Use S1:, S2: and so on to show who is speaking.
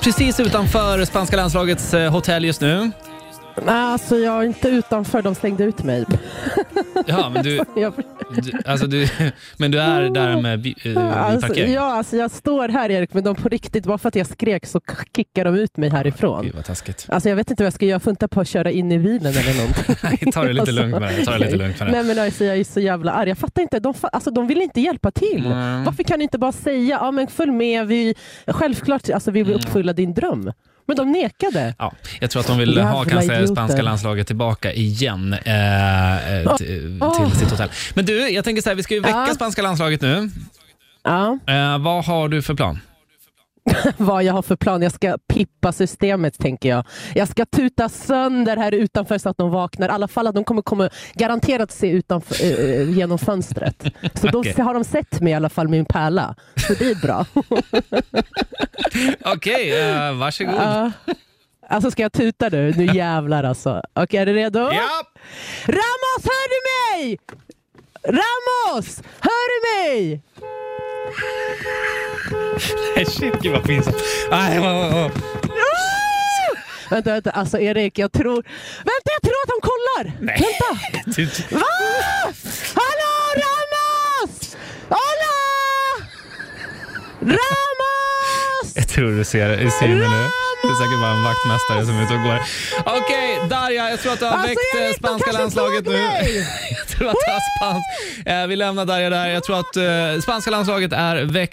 S1: Precis utanför spanska landslagets eh, hotell just nu.
S2: Nej, alltså jag är inte utanför. De slängde ut mig.
S1: Mm. Ja, men du,
S2: Jag,
S1: du, alltså du, men du är där med bi- eh,
S2: alltså,
S1: bilparkering?
S2: ja, alltså jag står här Erik, men de på riktigt, bara för att jag skrek så k- kickade de ut mig härifrån.
S1: Gud vad taskigt.
S2: Alltså jag vet inte vad jag ska göra. Jag funtar på att köra in i bilen eller någonting. Alltså.
S1: Nej, ta det lite lugnt med det. Ta det lite lugnt med det.
S2: Nej men alltså jag är så jävla arg. Jag fattar inte. De, fa- alltså, de vill inte hjälpa till.
S1: Mm.
S2: Varför kan du inte bara säga, ja men följ med, vi, självklart alltså, vi vill
S1: Mm.
S2: uppfylla din dröm. Men de nekade.
S1: Ja, jag tror att de vill
S2: Jävla
S1: ha kanske
S2: idioter.
S1: spanska landslaget tillbaka igen eh, eh, till, till sitt hotell. Men du, jag tänker så här, vi ska ju väcka
S2: Ja.
S1: spanska landslaget nu.
S2: Ja.
S1: Eh, vad har du för plan?
S2: vad jag har för plan. Jag ska pippa systemet tänker jag. Jag ska tuta sönder här utanför så att de vaknar. I alla fall att de kommer, kommer garanterat se utanför, eh, eh, genom fönstret. Så då
S1: Okej.
S2: har de sett mig i alla fall, min pärla. Så det är bra.
S1: Okej, eh, varsågod.
S2: Ja. Alltså ska jag tuta nu? Nu jävlar alltså. Okej, är du redo?
S1: Ja!
S2: Ramos, hör du mig? Ramos, hör du mig?
S1: Shit, gud vad pinsamt. Nej, vad- vad- vad- Ah!
S2: Vänta, vänta. Alltså Erik, jag tror... Vänta, jag tror att de kollar!
S1: Nej.
S2: Vänta!
S1: Du-
S2: Va? Hallå Ramos! Hola! Ramos!
S1: Jag tror du ser, du ser mig nu. Det är säkert bara en vaktmästare som är ute och går. Okej, Darja, jag tror att du har
S2: Alltså,
S1: väckt
S2: jag
S1: eh,
S2: vet, de
S1: spanska
S2: kanske
S1: landslaget
S2: såg
S1: nu.
S2: mig.
S1: jag tror att du har spans- eh, Vi lämnar Darja där. Jag tror att eh, spanska landslaget är väckt.